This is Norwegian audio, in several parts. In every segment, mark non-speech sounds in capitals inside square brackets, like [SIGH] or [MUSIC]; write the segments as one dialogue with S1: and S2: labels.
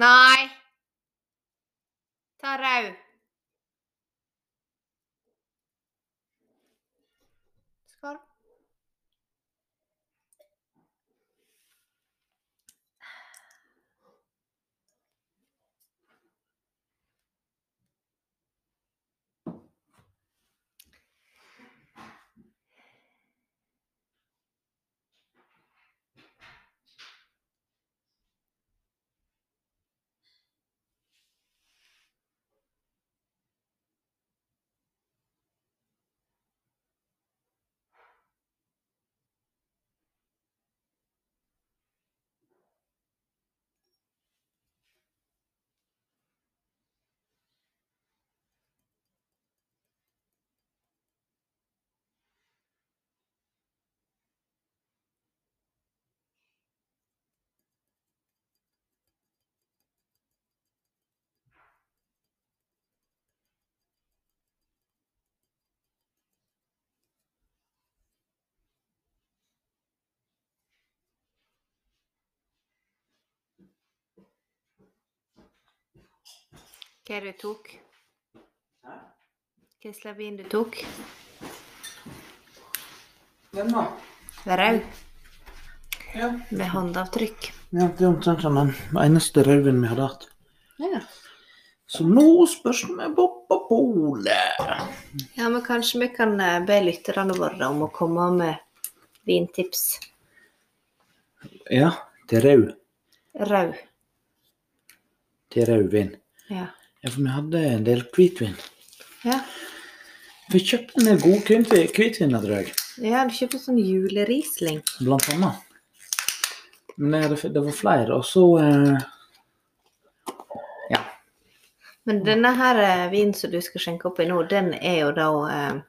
S1: Nei. Ta rau. Skål. Hva er det du tok?
S2: Hæ?
S1: Hva slags vin du tok?
S2: Den da?
S1: Rau.
S2: Ja.
S1: Med håndavtrykk.
S2: ja. Det er omtrent som den eneste røven vi hadde hatt.
S1: Ja.
S2: Så nå spørs det meg på polet.
S1: ja, men kanskje vi kan eh, be lytterne våre om å komme med vintips.
S2: Ja, til rød.
S1: Rau.
S2: Til rødvin.
S1: Ja.
S2: Ja, for vi hadde en del hvitvin.
S1: Ja,
S2: Vi kjøpte en del gode kvin- hvitviner, tror jeg.
S1: ja du kjøpte sånn juleriesling.
S2: Blant annet. Men det, det var flere. Og så eh, Ja.
S1: Men denne her eh, vinen som du skal skjenke opp i nå, den er jo da eh,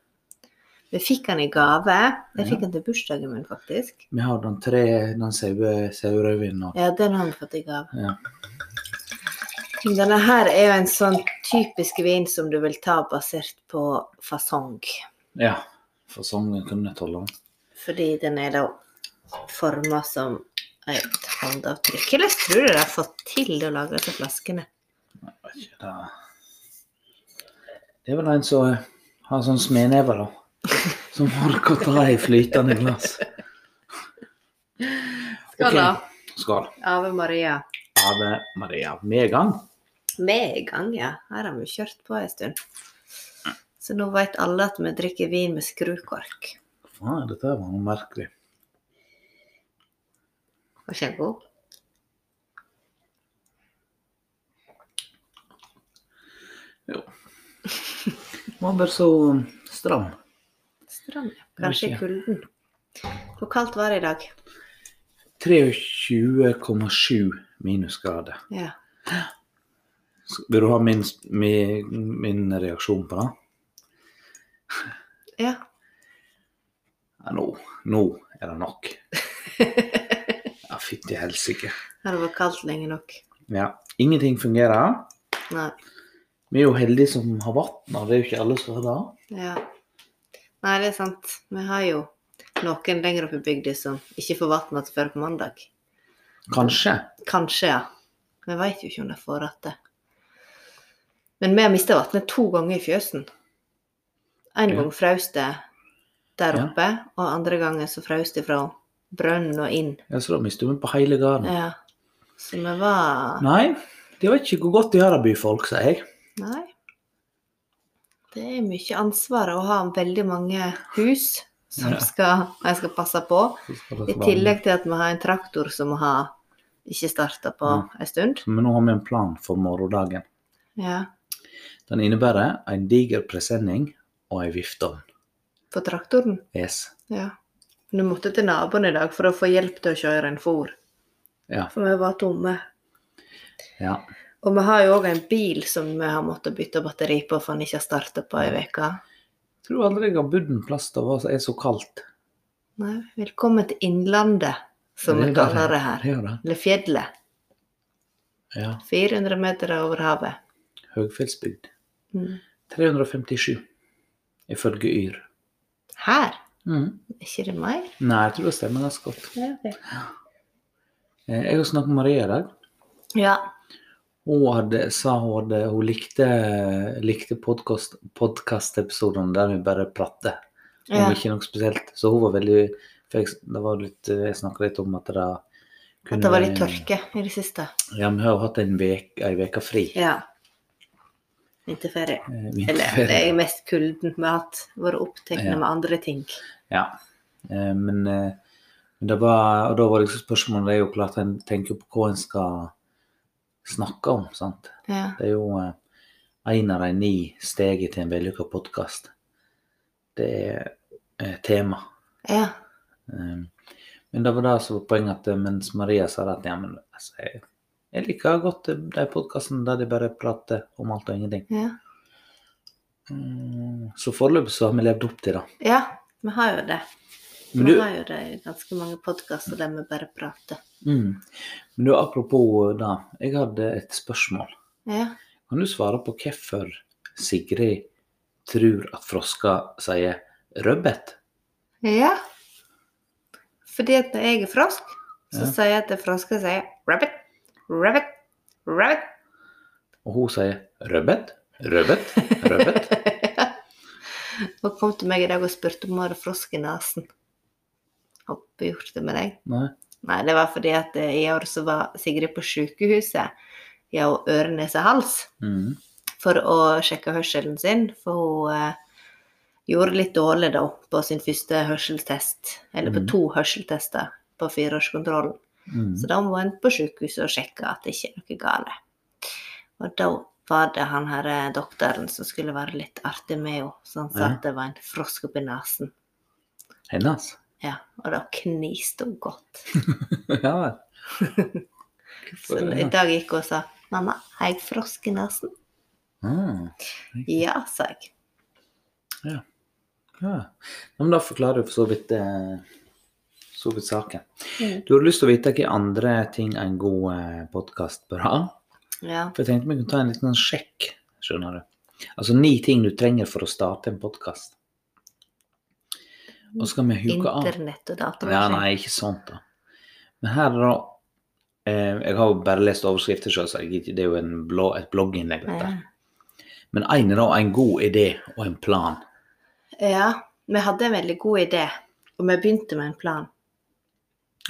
S1: Vi fikk den i gave. Jeg fikk den til bursdagen min, faktisk.
S2: Vi har den tre, den saue- sauerødvinen og
S1: Ja, den har vi fått i gave.
S2: ja.
S1: Denne her er jo en sånn typisk vin som du vil ta basert på fasong.
S2: ja. Fasongen kunne jeg tåle den.
S1: Fordi den er da forma som et håndavtrykk. Eller tror du de har fått til å lage disse flaskene?
S2: Jeg vet ikke, Det Det er vel en som eh, har sånn smedneve, da. Som orker å ta i flytende glass.
S1: Skål,
S2: Ok,
S1: da.
S2: Skål.
S1: Ave Maria.
S2: Ave Maria. Vi er i gang.
S1: Vi er i gang, ja. Her har vi kjørt på en stund. Så nå veit alle at vi drikker vin med skrukork.
S2: Faen, dette var noe merkelig.
S1: Var ikke den god?
S2: Jo. Den var bare så eh, stram.
S1: Stram, ja.
S2: Den var
S1: Kanskje i
S2: ikke-
S1: kulden. Hvor kaldt var det i dag?
S2: 23,7 minusgrader.
S1: Ja.
S2: Så Vil du ha min, min, min reaksjon på det?
S1: ja.
S2: Ja, nå, nå er det
S1: [LAUGHS]
S2: nok. Ja, fytti helsike.
S1: Har det vært kaldt lenge nok?
S2: Ja, ingenting fungerer.
S1: Nei.
S2: Vi er jo heldige som har vann, og det er jo ikke alle som har det.
S1: Ja. Nei, det er sant. Vi har jo noen lenger oppe i bygda som ikke får vann igjen før på mandag.
S2: Kanskje.
S1: Kanskje, ja. Vi veit jo ikke om de får igjen det. Men vi har mista vannet to ganger i fjøsen. En
S2: Ja.
S1: gang fraus det der
S2: Ja.
S1: oppe, og andre gangen så fraus det fra brønnen og inn.
S2: Ja, så da mister vi på hele gården.
S1: Ja. Så vi var
S2: Nei, det vet ikke hvor godt de har av byfolk, sier jeg.
S1: Nei. Det er mye ansvar å ha veldig mange hus som
S2: Ja.
S1: skal, en skal passe på.
S2: Så skal det
S1: I
S2: være-
S1: tillegg til at vi har en traktor som vi har ikke starta på
S2: Ja.
S1: en stund.
S2: Men nå har vi en plan for morgendagen.
S1: Ja,
S2: Den innebærer en diger presenning og en viftovn.
S1: På traktoren.
S2: Yes.
S1: Ja. Men Du måtte til naboen i dag for å få hjelp til å kjøre en fôr,
S2: Ja.
S1: for vi var tomme.
S2: ja.
S1: Og vi har jo òg en bil som vi har måttet bytte batteri på, for den ikke har starta på ei uke.
S2: Tror aldri jeg har bodd en plass der det er så kaldt.
S1: Nei, velkommen til Innlandet, som vi
S2: er
S1: kaller det her.
S2: Det er jo det.
S1: Eller fjellet.
S2: Ja.
S1: 400 meter over havet.
S2: Høgfjellsbygd.
S1: Mm.
S2: 357, ifølge Yr.
S1: Her?
S2: Mm.
S1: Er ikke det mer?
S2: Nei, jeg tror det stemmer ganske godt.
S1: Ja, ok.
S2: Eh, Jeg har snakket med Maria i dag,
S1: ja.
S2: Hun hadde, sa hun, hadde, hun likte, likte podcast- podcast-episodene der hun bare prater om
S1: Ja.
S2: ikke noe spesielt. Så hun var veldig for jeg, det var litt, eh, jeg snakka litt om at det
S1: At det var litt tørke i det siste.
S2: Ja, vi har jo hatt en vek, ei veke fri.
S1: Ja. Vinterferie.
S2: eh,
S1: Eller
S2: vinterferie.
S1: det er mest kulden vi har hatt. Vært opptatt
S2: Ja.
S1: med andre ting.
S2: Ja. Eh, Men eh, men det var, og da var liksom spørsmålet det er jo klart en tenker på hva en skal snakke om. sant?
S1: Ja.
S2: Det er jo eh, en av de ni stegene til en vellykka podkast. Det er eh, tema.
S1: ja.
S2: Eh, Men det var det som var poenget, at eh, mens Maria sa at ja, men altså, jeg, jeg liker godt eh, de podkastene der de bare prater om alt og ingenting.
S1: ja.
S2: Mm, Så foreløpig så har vi levd opp til det.
S1: Ja, vi har jo det.
S2: Men
S1: Vi
S2: du,
S1: har jo det i ganske mange podkaster der vi bare prater.
S2: mm, men du apropos det, jeg hadde et spørsmål.
S1: Ja.
S2: Kan du svare på hvorfor Sigrid tror at frosker sier 'rødbet'?
S1: ja. Fordi at når jeg er frosk, så
S2: Ja.
S1: sier jeg at frosker sier rabbit, rabbit, rabbit.
S2: Og hun sier 'rødbet', 'rødbet', 'rødbet'.
S1: Hun kom til meg i dag og spurte om hun hadde frosk i nesen. Håper jeg gjort det med deg.
S2: Nei.
S1: Nei, det var fordi at eh, i år så var Sigrid på sykehuset. Ja, og øre, nese, hals.
S2: Mm.
S1: for å sjekke hørselen sin, for hun eh, gjorde litt dårlig da på sin første hørselstest, eller på
S2: Mhm.
S1: to hørselstester på fireårskontrollen.
S2: Mm.
S1: Så da må en på sykehuset og sjekke at det ikke er noe gale. Og da var det han her eh, doktoren som skulle være litt artig med henne, så han sa
S2: Ja.
S1: at det var en frosk oppi nesen.
S2: Hennes. [LAUGHS]
S1: Ja, og da kniste hun godt.
S2: ja vel.
S1: Så i dag gikk hun og sa 'Mamma, har jeg frosk i nesen?'
S2: Ah,
S1: Ja, sa jeg.
S2: ja. Ja, Men da forklarer du for så vidt, eh, så vidt saken. Du har lyst til å vite hvilke andre ting en god eh, podkast bør ha?
S1: Ja.
S2: For jeg tenkte vi kunne ta en liten sånn sjekk, skjønner du. Altså ni ting du trenger for å starte en podkast. Og så skal vi huke av.
S1: Internett og datamaskin.
S2: Ja, nei, ikke sånt da. Men her da, eh, jeg har jo bare lest overskrifter selv, så jeg gidder ikke- det er jo en blå, et blogginnlegg dette.
S1: Ja.
S2: Men en er da en god idé og en plan.
S1: Ja, vi hadde en veldig god idé, og vi begynte med en plan.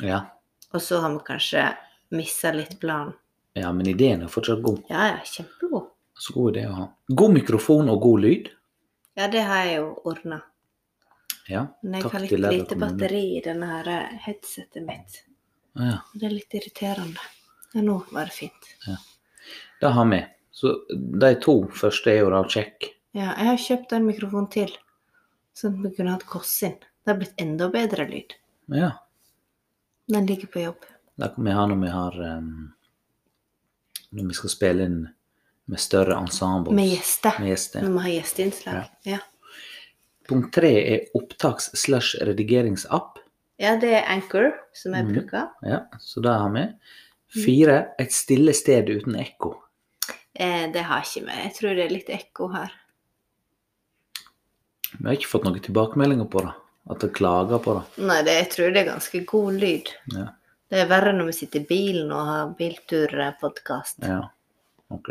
S2: Ja,
S1: Og så har vi kanskje missa litt planen.
S2: ja men ideen er fortsatt god.
S1: Ja, ja, kjempegod.
S2: Så god idé å ha. God mikrofon og god lyd.
S1: Ja, det har jeg jo ordna.
S2: Ja,
S1: Men jeg
S2: Takk
S1: har litt
S2: til Lærdal
S1: lite
S2: kommune.
S1: batteri i denne her eh, headsetet mitt.
S2: ja.
S1: Og Det er litt irriterende. Ja, nå var det fint.
S2: Det har vi. Så de to første er jo da kjekk.
S1: Ja, jeg har kjøpt en mikrofon til, sånn at vi kunne hatt koss inn. Det har blitt enda bedre lyd.
S2: Ja.
S1: Den ligger på jobb.
S2: Det kan vi ha når vi har em, Når vi skal spille inn med større ensembles.
S1: Med Mm. gjester.
S2: Med gjester.
S1: Når vi har gjesteinnslag. Ja.
S2: Punkt tre er opptaks-slash-redigeringsapp.
S1: ja, det er Anchor som jeg
S2: Mhm.
S1: bruker.
S2: Ja, så det har vi. Fire et stille sted uten ekko.
S1: Eh, det har ikke vi. Jeg tror det er litt ekko her.
S2: Vi har ikke fått noen tilbakemeldinger på det. At de klager på det.
S1: Nei, det, jeg tror det er ganske god lyd.
S2: Ja.
S1: Det er verre når vi sitter i bilen og har bilturpodkast. Ja.
S2: ja. Ok,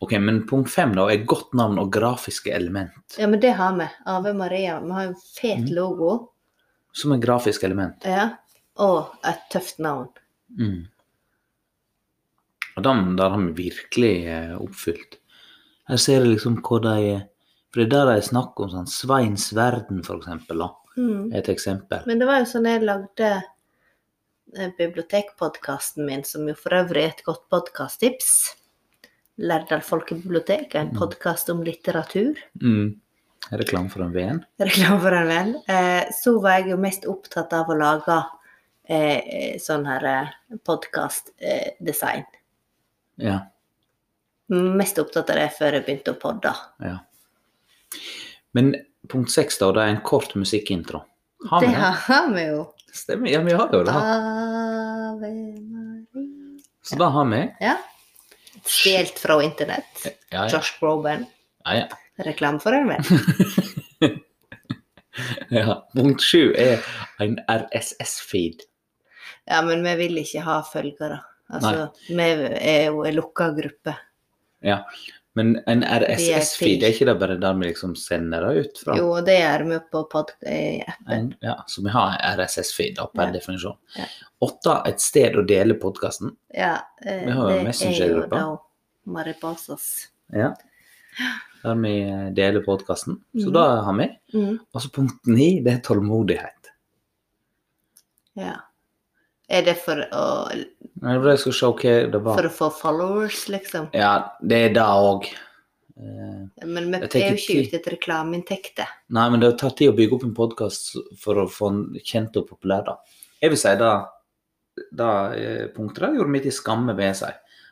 S2: Ok, men punkt fem da er godt navn og grafiske element.
S1: men det har vi. Ave Maria. Vi har en fet
S2: Mhm.
S1: logo.
S2: Som et grafisk element.
S1: Ja. Og et tøft navn.
S2: Mm. Og den der har vi virkelig eh, oppfylt. Her ser jeg liksom hva de For det er der de snakker om sånn Sveins verden, for eksempel. Da.
S1: Mm.
S2: Et eksempel.
S1: Men det var jo sånn jeg lagde eh, bibliotekpodkasten min, som jo for øvrig er et godt podkasttips. Lærdal folkebibliotek er en
S2: Mhm.
S1: podkast om litteratur.
S2: Mm. Reklame for en VN.
S1: reklame for en venn, eh, så var jeg jo mest opptatt av å lage eh, sånn her eh, podkastdesign.
S2: Ja.
S1: mest opptatt av det før jeg begynte å podde.
S2: ja. Men punkt seks, da, det er en kort musikkintro. Har vi
S1: Det
S2: det?
S1: har vi jo.
S2: Stemmer. Ja, vi har jo det.
S1: Ave Maria.
S2: Så det har vi.
S1: Ja. Stjålet fra internett.
S2: Ja, ja.
S1: Josh Groban.
S2: ja, ja.
S1: Reklame for
S2: [LAUGHS]
S1: en venn.
S2: ja. Punkt sju er en RSS-feed.
S1: Ja, men vi vil ikke ha følgere. Altså, vi er jo en lukka gruppe.
S2: Men en RSS-feed, er ikke det bare der vi liksom sender det ut fra?
S1: Jo, det gjør vi på pod i appen.
S2: En, ja, så vi har en RSS-feed da, per
S1: Ja.
S2: definisjon.
S1: Ja.
S2: Åtta, et sted å dele podkasten.
S1: Ja, eh,
S2: Vi har jo
S1: det er jo
S2: Messenger-gruppa.
S1: da Mariposas.
S2: Ja. Der vi eh, deler podkasten. Så
S1: Mhm.
S2: da har vi.
S1: Mm,
S2: Og så punkt ni, det er tålmodighet.
S1: ja. Er det for å,
S2: Jeg vil jeg skal se hva det var.
S1: for å få followers, liksom?
S2: Ja, det er det òg.
S1: Men vi
S2: Jeg
S1: er
S2: tenker
S1: jo ikke
S2: ti-
S1: ute etter reklameinntekter.
S2: Nei, men det har tatt tid å bygge opp en podkast for å få den kjent og populær, da. Jeg vil si da, da eh, punktet der gjorde meg til skamme, vil jeg si.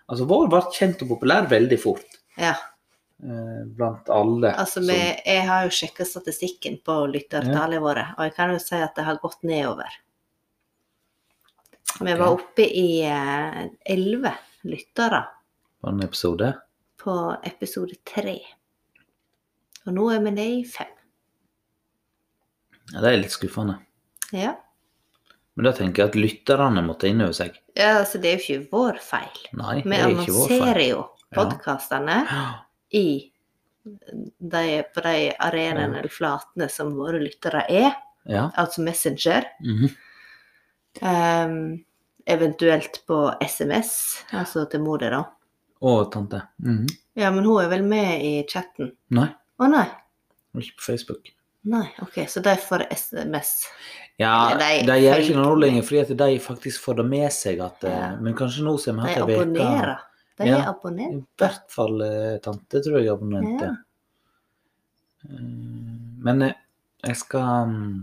S2: Altså, vår ble kjent og populær veldig fort.
S1: Ja,
S2: eh, Blant alle.
S1: altså
S2: som-
S1: vi, jeg har jo sjekka statistikken på lyttertallene våre, og jeg kan jo si at det har gått nedover. Vi var
S2: Ok.
S1: oppe i eh, elleve lyttere
S2: På en episode.
S1: på episode tre. Og nå er vi nede i fem.
S2: Ja, det er litt skuffende.
S1: Ja.
S2: Men da tenker jeg at lytterne må ta inn over seg.
S1: ja, altså det er jo ikke vår feil.
S2: Nei,
S1: Vi
S2: det er ikke vår
S1: annonserer
S2: feil.
S1: jo podkastene i de, på de arenaene
S2: Ja.
S1: eller flatene som våre lyttere er,
S2: Ja.
S1: altså Messenger.
S2: mhm.
S1: ehm, eventuelt på SMS, altså til mor di, da.
S2: Og tante. Mhm.
S1: Ja, men hun er vel med i chatten?
S2: Nei,
S1: Å nei.
S2: hun er ikke på Facebook.
S1: Nei, OK, så de får SMS.
S2: Ja,
S1: Eller de
S2: de gjør ikke
S1: følger
S2: noe
S1: med.
S2: lenger, fordi at de faktisk får det med seg at eh,
S1: Ja.
S2: Men kanskje nå som vi
S1: De
S2: har hatt ei uke
S1: abonnerer. De
S2: Ja.
S1: er
S2: I
S1: abonnert.
S2: hvert fall eh, tante, tror jeg, abonnente.
S1: Ja.
S2: Men eh, jeg skal mm,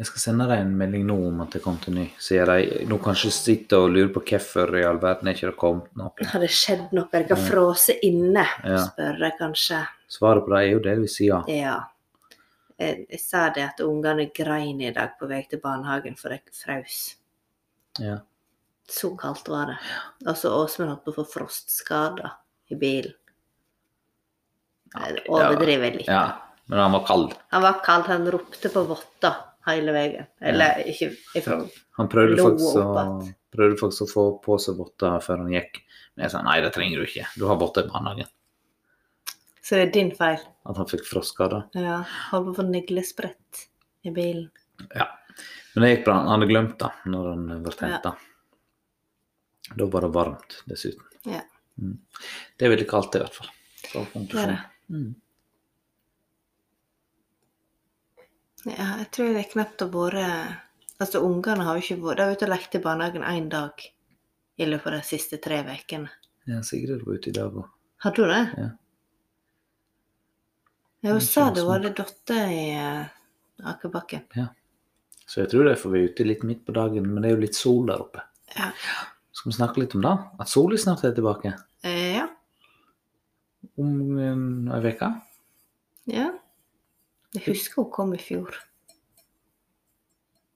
S2: Jeg skal sende deg en melding nå om at det kom til ny. Siden de nå kanskje sitter og lurer på hvorfor i all verden er ikke det kommet noe.
S1: Har det skjedd noe? Jeg har frosset inne,
S2: Ja.
S1: spør jeg kanskje.
S2: Svaret på det er jo delvis ja.
S1: Ja. Jeg, jeg sa det at ungene grein i dag på vei til barnehagen, for jeg frøs.
S2: ja.
S1: Så kaldt var det. Altså, Og så Åsmund holdt på å få frostskader i bilen. Jeg overdriver litt.
S2: ja. Men han var kald.
S1: Han var kald, han ropte på votter hele veien. Eller ikke ifra
S2: Han prøvde
S1: Lo
S2: faktisk,
S1: opp
S2: å, prøvde faktisk å få på seg votter før han gikk. Men jeg sa nei, det trenger du ikke. Du har votter i barnehagen.
S1: Så det er din feil.
S2: At han fikk frostskader.
S1: Ja. Holdt på å få neglesprett i bilen.
S2: Men det gikk bra. Han hadde glemt det når han ble henta. Da var det varmt, dessuten.
S1: Ja.
S2: Mm. Det er veldig kaldt, i hvert fall. Så
S1: Det er det.
S2: konklusjon. Mm.
S1: Ja, jeg tror det er knapt har vært Altså, ungene har jo ikke vært De har vært og lekt i barnehagen én dag i løpet av de siste tre ukene.
S2: Ja, Sigrid var ute i dag òg.
S1: Har du det?
S2: Ja.
S1: Ja, hun
S2: Jeg
S1: sa
S2: tror
S1: det
S2: også.
S1: var ei datter i eh, akebakken.
S2: Så jeg tror derfor vi er ute litt midt på dagen, men det er jo litt sol der oppe.
S1: Ja.
S2: Skal vi snakke litt om det? At sola snart er tilbake?
S1: Eh, ja.
S2: Om eh, ei uke?
S1: ja. Jeg husker hun kom i fjor.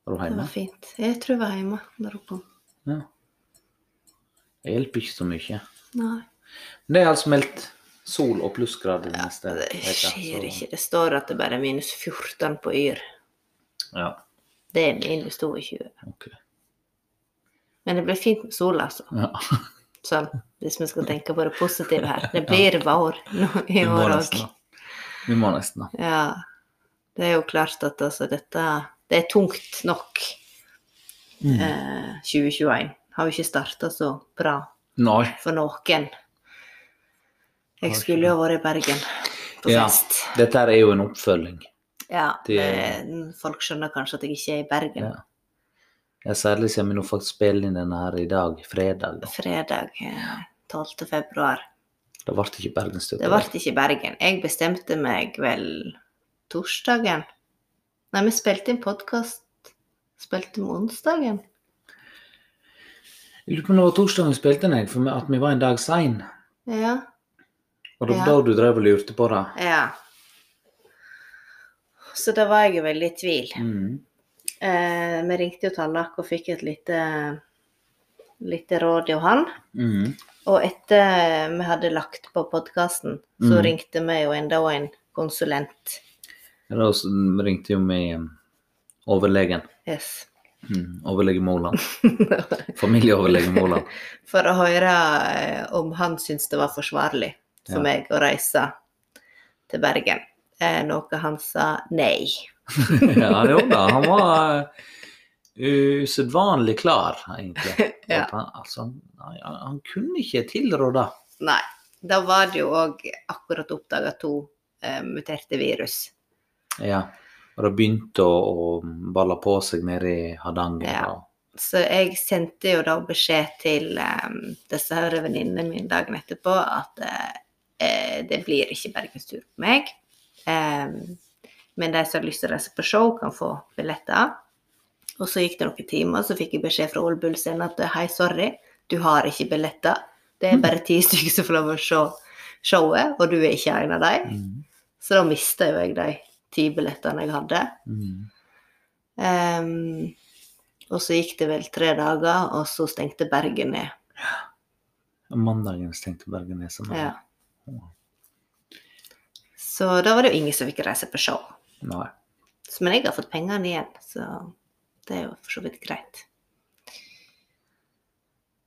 S2: Var du
S1: Det
S2: hjemme?
S1: var fint. Jeg tror jeg var hjemme når hun kom.
S2: Ja. Det hjelper ikke så mye.
S1: Nei,
S2: Men det er altså meldt sol og plussgrader ja, neste
S1: det
S2: uke,
S1: skjer
S2: så-
S1: ikke. Det står at det bare er minus 14 på Yr.
S2: Ja,
S1: Det er minus 22.
S2: ok.
S1: Men det blir fint med sol, altså.
S2: Ja.
S1: Sånn, hvis vi skal tenke på det positive her. Det blir vår nå i
S2: Vi må
S1: år òg.
S2: nesten da. Vi må nesten da.
S1: Ja. Det er jo klart at altså dette Det er tungt nok. Eh, 2021 har jo ikke starta så bra
S2: Nei.
S1: for noen.
S2: ikke
S1: Jeg skulle jo ha vært i Bergen på
S2: Ja.
S1: fest.
S2: Dette her er jo en oppfølging.
S1: Ja,
S2: Det-
S1: eh, folk skjønner kanskje at jeg ikke er i Bergen
S2: Ja. Ja, særlig siden vi nå faktisk spiller inn denne her i dag, fredag. Da.
S1: fredag eh, 12. februar.
S2: Det ble ikke Bergenstøtte.
S1: Det ble ikke i Bergen. Jeg bestemte meg vel torsdagen. Nei, vi spilte inn podkast Spilte vi onsdagen?
S2: Jeg lurer på om det var torsdag vi spilte den, jeg, for vi- at vi var en dag sein.
S1: Ja.
S2: Og det var
S1: Ja.
S2: da du drev og lurte på det.
S1: ja. Så da var jeg jo veldig i tvil.
S2: Mm.
S1: Eh, vi ringte jo Tallak og fikk et lite, lite råd av han.
S2: Mm.
S1: Og etter vi hadde lagt på podkasten, så
S2: Mm.
S1: ringte vi jo enda en konsulent.
S2: Da ringte jo vi eh, overlegen.
S1: Yes.
S2: Mm, overlege
S1: [LAUGHS]
S2: Moland. Familieoverlege Moland.
S1: for å høre eh, om han syntes det var forsvarlig for
S2: Ja.
S1: meg å reise til Bergen. Eh, noe han sa nei.
S2: [LAUGHS] ja, jo da. Han var eh, usedvanlig klar, egentlig.
S1: [LAUGHS] Ja.
S2: At Han, altså, han, han han kunne ikke tilråde.
S1: Nei. Da var det jo òg akkurat oppdaga to eh, muterte virus.
S2: Ja. Og det begynte å, å balle på seg nede i Hardanger.
S1: Ja.
S2: og-
S1: Så jeg sendte jo da beskjed til eh, disse her venninnene mine dagen etterpå at eh, det blir ikke bergenstur på meg. Em, men de som har lyst til å reise på show, kan få billetter. Og så gikk det noen timer, så fikk jeg beskjed fra Ole Bull Scene at eh, hei, sorry, du har ikke billetter. Det er bare ti stykker som får lov å se showet, og du er ikke en av dem.
S2: Mm.
S1: Så da mista jo jeg de ti billettene jeg hadde.
S2: Mm.
S1: Ehm, og så gikk det vel tre dager, og så stengte Bergen ned.
S2: Mandagen stengte Bergeneserne.
S1: Ja. Så da var det jo ingen som fikk reise på show.
S2: Nei.
S1: Så- Men jeg har fått pengene igjen, så det er jo for så vidt greit.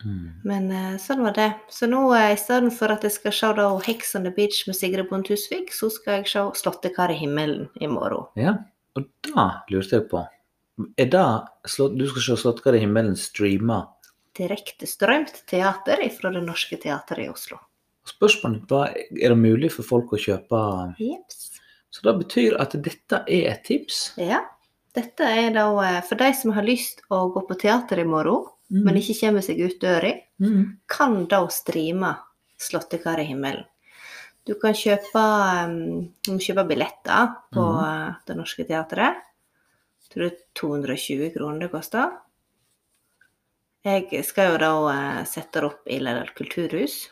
S2: Mm.
S1: Men eh, sånn var det. Så nå eh, i stedet for at jeg skal se da Hex on the Beach med Sigrid Bonde Tusvik, så skal jeg se Slåttekar i himmelen i morgen.
S2: Ja. Og da lurte jeg på er det, slå- Du skal se Slåttkar i himmelen streama.
S1: Direkte strømt teater fra Det Norske Teatret i Oslo.
S2: Spørsmålet var er det mulig for folk å kjøpe
S1: Jeps.
S2: Så det betyr at dette er et tips.
S1: Ja. Dette er da eh, for de som har lyst å gå på teater i morgen,
S2: Mm.
S1: men ikke kommer seg ut døra.
S2: Mm.
S1: kan da streame Slåttekar i himmelen. Du kan kjøpe, um, du må kjøpe billetter på uh, Det Norske Teatret. Jeg tror det er 220 kroner det koster. Jeg skal jo da eh, sette det opp i Lærdal kulturhus,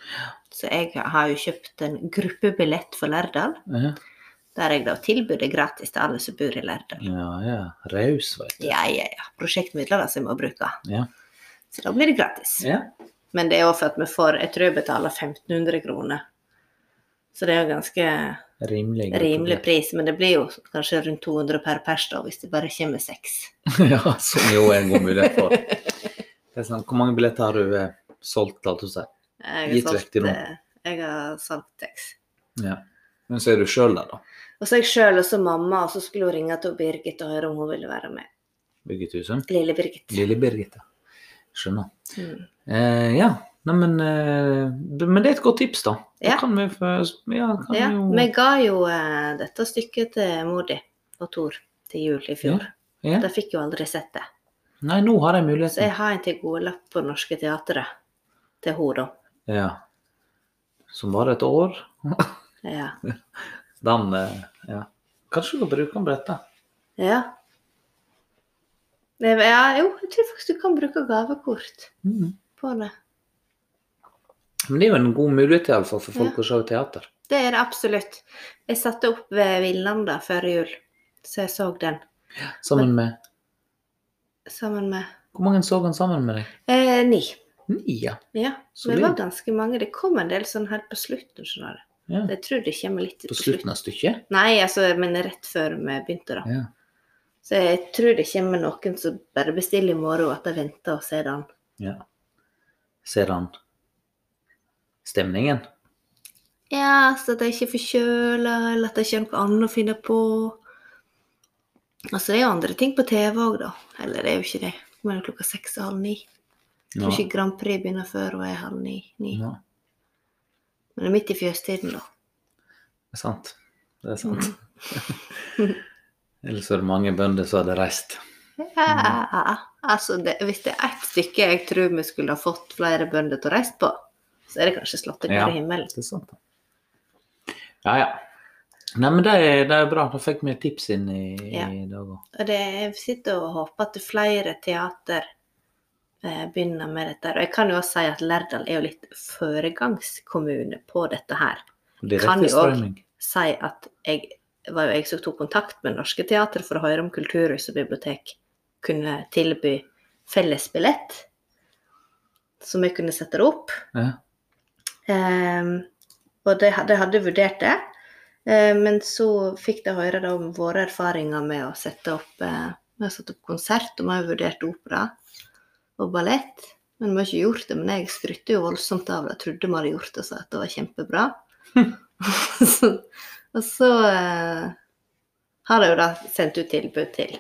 S1: så jeg har jo kjøpt en gruppebillett for Lærdal,
S2: Ja,
S1: der jeg da tilbyr det gratis til alle som bor i Lærdal.
S2: ja. ja. Raus, veit du.
S1: Ja, ja, ja. Prosjektmidler da, som jeg må bruke.
S2: Ja.
S1: Så da blir det gratis.
S2: Ja.
S1: Men det er jo for at vi får Jeg tror jeg betaler 1500 kroner. Så det er jo ganske
S2: Rimelig.
S1: rimelig pris, men det blir jo kanskje rundt 200 per pers da, hvis det bare kommer seks.
S2: [LAUGHS] ja, som jo er en god mulighet
S1: [LAUGHS]
S2: for. Det er sånn, hvor mange billetter har du eh, solgt, alt du sier?
S1: Jeg
S2: Gitt
S1: har
S2: vekk til
S1: solgt,
S2: noen.
S1: eh, jeg har solgt seks.
S2: Ja. Men så er du sjøl der, da.
S1: Og så jeg sjøl og så mamma, og så skulle hun ringe til Birgit og høre om hun ville være med.
S2: Birgit Husum.
S1: Lille Birgit.
S2: Lille Birgitte. Skjønner.
S1: Mm.
S2: Eh, ja. Nei, men, eh, det- men det er et godt tips, da.
S1: Ja.
S2: Da kan vi få Ja, kan
S1: Ja,
S2: jo
S1: vi ga jo eh, dette stykket til mor di og Tor til jul i fjor.
S2: ja.
S1: De fikk jo aldri sett det.
S2: Nei, nå har jeg
S1: Så jeg
S2: muligheten.
S1: har en til gode lapp på Norske Teatret til hun da.
S2: Ja. Som var et år. [LAUGHS]
S1: Ja.
S2: Den eh, Ja. Kanskje du kan bruke den på dette.
S1: Ja. Nei, men ja. Jo, jeg tror faktisk du kan bruke gavekort
S2: Mhm.
S1: på det.
S2: Men det er jo en god mulighet i alle fall for folk
S1: Ja.
S2: å se teater.
S1: Det er det absolutt. Jeg satte opp ved Villanda før jul, så jeg så den
S2: Sammen med
S1: sammen med
S2: Hvor mange så han sammen med deg?
S1: eh, ni.
S2: Ni, ja.
S1: Ja,
S2: Så
S1: vi var
S2: litt
S1: ganske mange. Det kom en del sånn helt på slutten, skjønner du.
S2: Ja.
S1: Jeg tror det kommer litt
S2: på slutten av stykket.
S1: Nei, altså, men rett før vi begynte, da.
S2: Ja.
S1: Så jeg tror det kommer noen som bare bestiller i morgen, at de venter og ser den.
S2: Ser han stemningen?
S1: Ja, så at de ikke er forkjøla, eller at de ikke har noe annet å finne på. Altså, det er jo andre ting på TV òg, da. Eller det er jo ikke det. Nå er det klokka seks og halv ni. Jeg tror ikke Grand Prix begynner før hun er halv ni. ni.
S2: Nå.
S1: Men det er midt i fjøstiden, da.
S2: Det er sant. Det er sant.
S1: Mm. [LAUGHS]
S2: Ellers er det mange bønder som hadde reist.
S1: Ja, altså, det, hvis det er ett stykke jeg tror vi skulle ha fått flere bønder til å reise på, så er det kanskje slått i
S2: Ja.
S1: bare himmelen.
S2: Det er sant. Ja, ja. Nei, men det er, det er bra. Da fikk vi et tips inn i,
S1: Ja.
S2: i dag òg.
S1: Og det, jeg sitter og håper at flere teater eh, begynner med dette. Og jeg kan jo også si at Lærdal er jo litt foregangskommune på dette her. Kan
S2: Direkte
S1: jo også.
S2: strømming.
S1: Si at jeg var jo jeg som tok kontakt med Norske Teater for å høre om kulturhus og bibliotek kunne tilby fellesbillett, som vi kunne sette det opp.
S2: Ja.
S1: Ehm, og de, de hadde vurdert det, Ehm, eh, men så fikk de høre da om våre erfaringer med å sette opp eh, Vi har satt opp konsert, og vi har jo vurdert opera og ballett. Men vi har ikke gjort det. Men jeg skrytte jo voldsomt av det. Jeg trodde vi hadde gjort det og sa at det var
S2: [LAUGHS]
S1: kjempebra. [LAUGHS] så, og så eh, har jeg jo da sendt ut tilbud til,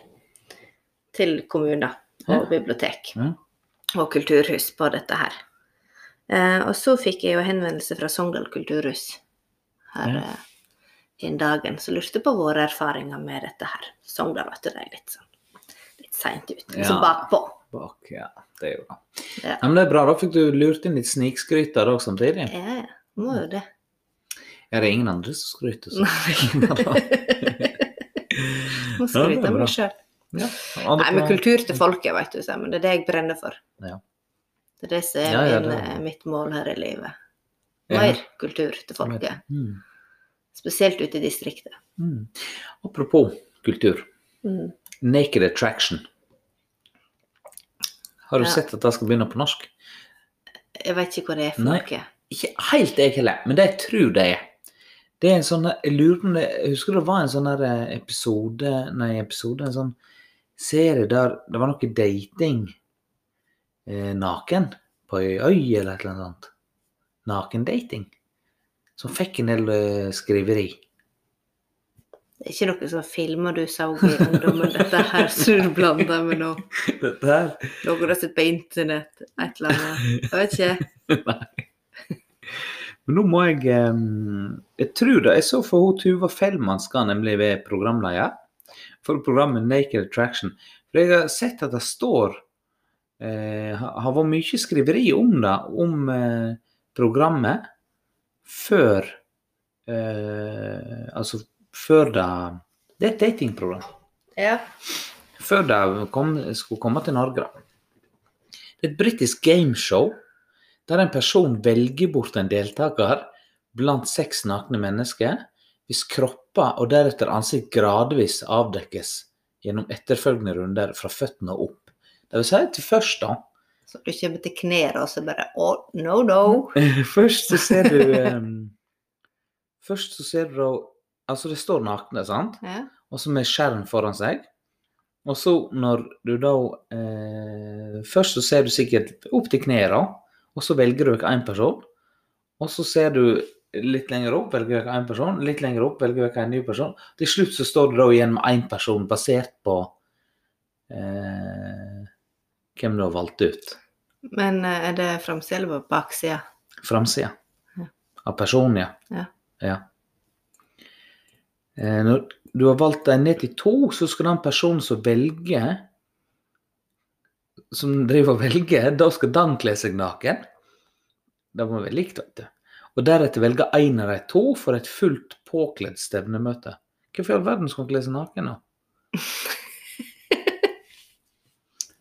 S1: til kommuner og
S2: Ja.
S1: bibliotek
S2: Ja.
S1: og kulturhus på dette her. Eh, og så fikk jeg jo henvendelse fra Sogndal kulturhus her
S2: Ja.
S1: eh, inn dagen, som lurte på våre erfaringer med dette her. Sogndal, vet du, det er litt sånn litt seint ute, liksom
S2: Ja.
S1: bakpå.
S2: Bak, ja. Det er jo bra.
S1: Ja.
S2: Ja. Men det er bra, da fikk du lurt inn litt snikskryt der òg samtidig.
S1: Ja, ja. Må jo [LAUGHS] det.
S2: Er det ingen andre som skryter sånn?
S1: Må
S2: Ja, det
S1: skryte
S2: er
S1: av
S2: bra.
S1: meg sjøl.
S2: Ja.
S1: [LAUGHS] Nei, men kultur til folket, vet du, Simon. Det er det jeg brenner for.
S2: Ja.
S1: Det er det som er,
S2: Ja, ja,
S1: min,
S2: det er-
S1: eh, mitt mål her i livet.
S2: Ja.
S1: Mer kultur til folket.
S2: Mm.
S1: Spesielt ute i distriktet.
S2: Mm. Apropos kultur.
S1: Mm.
S2: Naked Attraction. Har du
S1: Ja.
S2: sett at det skal begynne på norsk?
S1: Jeg vet ikke hva det er for
S2: Nei.
S1: noe.
S2: Ikke helt jeg heller, men det jeg tror det er. Det er en sånn jeg lurer på om det- Jeg husker det var en sånn der episode Nei, episode, en sånn serie der det var noe dating eh, naken på ei øy eller et eller annet sånt. Nakendating. Som fikk en del eh, skriveri.
S1: Det er ikke noe sånn filmer du så i ungdommen, dette her som du blander med nå.
S2: [LAUGHS] Dette her
S1: Noe du har sett på internett, et eller annet. Jeg vet
S2: [LAUGHS]
S1: ikke.
S2: Nei. Men nå må jeg em, Jeg tror det. Jeg så for hun Tuva Fellmann skal nemlig være programleder for programmet Naked Attraction. For jeg har sett at det står eh, ha- Har vært mye skriveri om det, om eh, programmet, før eh, Altså før det Det er et datingprogram
S1: Ja.
S2: før de kom, skulle komme til Norge. da. Det er et britisk gameshow der en person velger bort en deltaker blant seks nakne mennesker, hvis kropper og deretter ansikt gradvis avdekkes gjennom etterfølgende runder fra føttene og opp. Det vil si til først, da.
S1: Så du kommer til knærne og så bare Å, no, no.
S2: [LAUGHS] Først så ser [LAUGHS] du em, Først så ser du da Altså, det står nakne, sant?
S1: Ja.
S2: og så med skjerm foran seg. Og så når du da eh, Først så ser du sikkert opp til knærne, og så velger du vekk én person. Og så ser du litt lenger opp, velger vekk én person, litt lenger opp, velger vekk en ny person. Til slutt så står du da igjen med én person basert på eh, hvem du har valgt ut.
S1: Men eh, er det framsida eller på baksida?
S2: Framsida.
S1: Ja.
S2: Av personen, ja.
S1: Ja.
S2: Eh, Når du har valgt deg ned til to, så skal den personen som velger Som driver og velger, da skal den kle seg naken. Det må være likt, vet du. Og deretter velge én av de to for et fullt påkledd stevnemøte. Hvorfor i all verden skal han kle seg
S1: [LAUGHS]
S2: naken, da?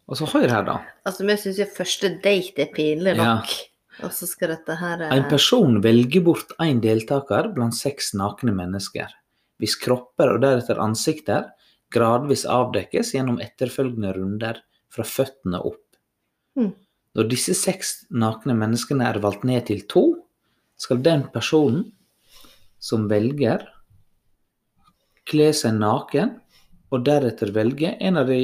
S2: Og så hør her, da.
S1: Altså, vi syns jo første date er pinlig
S2: Ja.
S1: nok. Og så skal dette her eh,
S2: En person velger bort én deltaker blant seks nakne mennesker. Hvis kropper og deretter ansikter gradvis avdekkes gjennom etterfølgende runder fra føttene opp.
S1: Mm.
S2: Når disse seks nakne menneskene er valgt ned til to, skal den personen som velger, kle seg naken og deretter velge en av de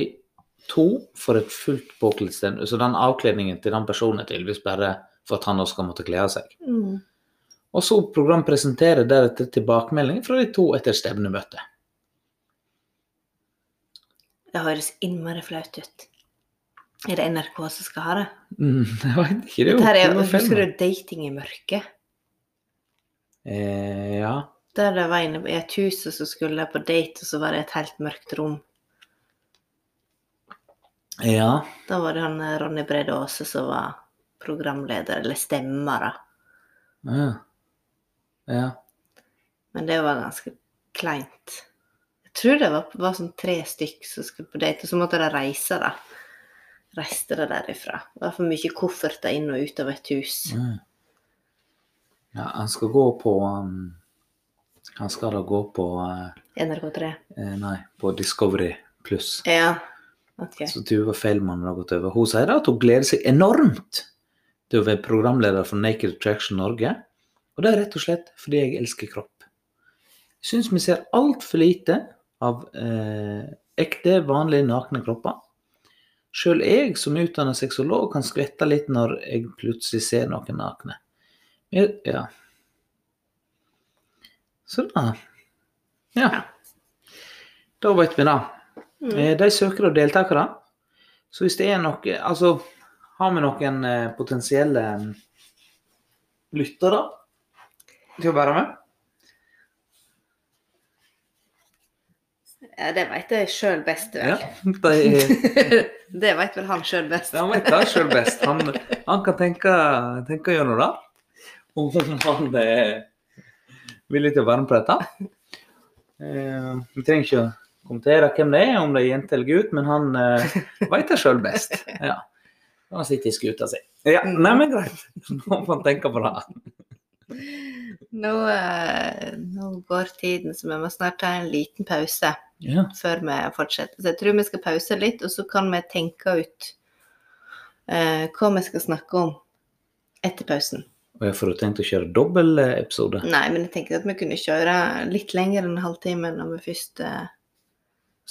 S2: to for et fullt påkledd sted. Så den avkledningen til den personen er tydeligvis bare for at han også skal måtte kle av seg.
S1: mm.
S2: Og så program presenterer deretter tilbakemeldinger fra de to etter stevnemøtet.
S1: Det høres innmari flaut ut. Er det NRK som skal ha det?
S2: Mm, [LAUGHS] jeg vet ikke, det
S1: Dette her
S2: er
S1: er,
S2: jo
S1: husker du dating i mørket?
S2: Eh, ja.
S1: Der det var inne i et hus, og så skulle jeg på date, og så var det et helt mørkt rom.
S2: ja.
S1: Da var det han eh, Ronny Brede Aase som var programleder, eller stemmer, da.
S2: Ja. ja.
S1: Men det var ganske kleint. Jeg tror det var, var sånn tre stykk som skulle på date, og så måtte de reise, da. Reiste de derifra. Det var for mye kofferter inn og ut av et hus.
S2: Mm. Ja, han skal gå på um, Han skal da gå på eh,
S1: NRK3.
S2: eh, Nei, på Discovery pluss.
S1: Ja. OK.
S2: Så Tuva Feilmann har gått over. Hun sier da at hun gleder seg enormt til å være programleder for Naked Attraction Norge. Og det er rett og slett fordi jeg elsker kropp. Jeg syns vi ser altfor lite av eh, Ekte, vanlige, nakne kropper. Sjøl jeg som utdanna sexolog kan skvette litt når jeg plutselig ser noen nakne. Jeg- Ja. Så da Ja. Da vet vi det.
S1: Mm.
S2: Eh, De søker og deltakere. Så hvis det er noe Altså, har vi noen eh, potensielle mm, lyttere til å være med?
S1: Ja, det veit jeg sjøl best,
S2: Ja.
S1: vel.
S2: De,
S1: det veit vel han sjøl best.
S2: han vet det sjøl best. Han, han kan tenke, tenke gjennom det. Om han er villig til å være med på dette. Eh, Vi trenger ikke å kommentere hvem det er, om det er jente eller gutt, men han eh, veit det sjøl best. Ja. Han sitter i skuta si. Ja, nei, men greit. Nå må han tenke på det.
S1: Nå, eh, nå går tiden, så vi må snart ta en liten pause
S2: Ja.
S1: før vi fortsetter. Så jeg tror vi skal pause litt, og så kan vi tenke ut eh, hva vi skal snakke om etter pausen.
S2: Og jeg får jo tenkt å kjøre dobbel eh, episode.
S1: Nei, men jeg tenkte at vi kunne kjøre litt lenger enn en halvtime når vi først eh,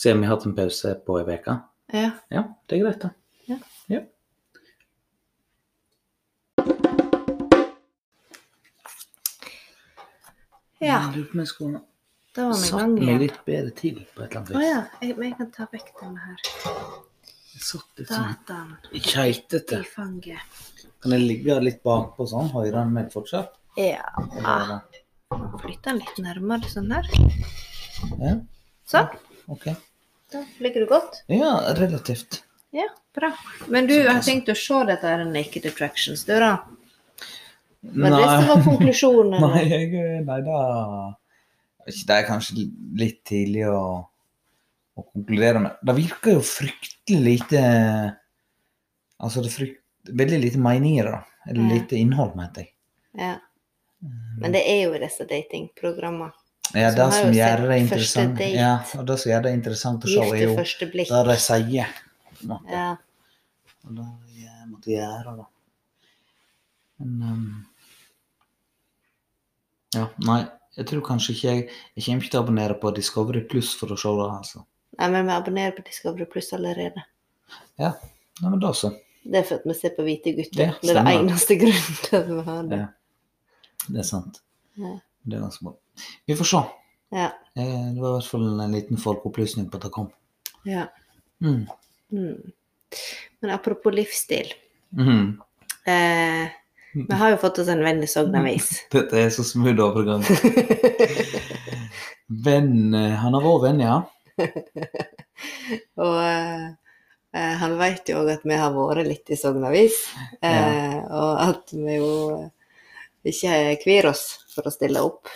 S2: Se om vi har hatt en pause på ei uke.
S1: Ja.
S2: Ja, det er greit, da.
S1: Ja.
S2: Ja.
S1: Ja,
S2: Jeg Lurer på om jeg skulle
S1: da var vi i
S2: Mm. satt
S1: gang
S2: meg
S1: igjen.
S2: litt bedre til på et eller annet
S1: Å
S2: vis.
S1: ja. Jeg, men jeg kan ta vekk denne her
S2: Jeg satt litt sånn
S1: dataen
S2: keitete.
S1: i fanget.
S2: Kan jeg ligge litt bakpå sånn? Hører han meg fortsatt?
S1: Ja.
S2: Eller-
S1: Flytte den litt nærmere sånn her.
S2: Ja,
S1: Sånn.
S2: ok.
S1: Da ligger du godt.
S2: Ja, relativt.
S1: Ja, bra. Men du har tenkt å se dette her Naked Attractions, du da? Men det som
S2: Nei, [LAUGHS]
S1: var konklusjonen.
S2: nei, jeg, nei da Ikke Det er kanskje litt tidlig å, å konkludere med. Det virker jo fryktelig lite Altså, det er frykt, veldig lite meninger, da. Eller
S1: Ja.
S2: lite innhold, mente jeg.
S1: Ja.
S2: Mm.
S1: Men det er jo i disse datingprogrammene.
S2: Ja,
S1: Så
S2: det
S1: har
S2: som gjør
S1: jo sett
S2: det
S1: første
S2: interessant
S1: date.
S2: ja, og det som gjør det interessant å se, er
S1: Gift ved
S2: jo
S1: første blikk.
S2: det de sier. på en måte.
S1: Ja.
S2: Og det jeg måtte gjøre, da. Men ehm, Ja, nei. Jeg tror kanskje ikke jeg Jeg kommer ikke til å abonnere på Discovery Pluss for å se det, altså.
S1: Nei, men vi abonnerer på Discovery Pluss allerede.
S2: Nei, men da så.
S1: Det er for at vi ser på hvite gutter.
S2: Ja,
S1: det er
S2: stemmer.
S1: den eneste grunnen til at vi har det.
S2: Ja. Det er sant.
S1: Ja.
S2: Det er ganske bra. Vi får se.
S1: Ja.
S2: Eh, Det var i hvert fall en liten folkeopplysning på at det kom.
S1: ja.
S2: Mm.
S1: Mm. Men apropos livsstil.
S2: Mm.
S1: Eh, vi har jo fått oss en venn i Sogn Avis.
S2: Dette er så smooth overgang. Venn eh, Han har vært venn, ja. [CLEARS THROAT]
S1: Og eh, eh, han vet jo òg at vi har vært litt i Sogn Avis, eh, og at vi jo eh, ikke kvir oss for å stille opp.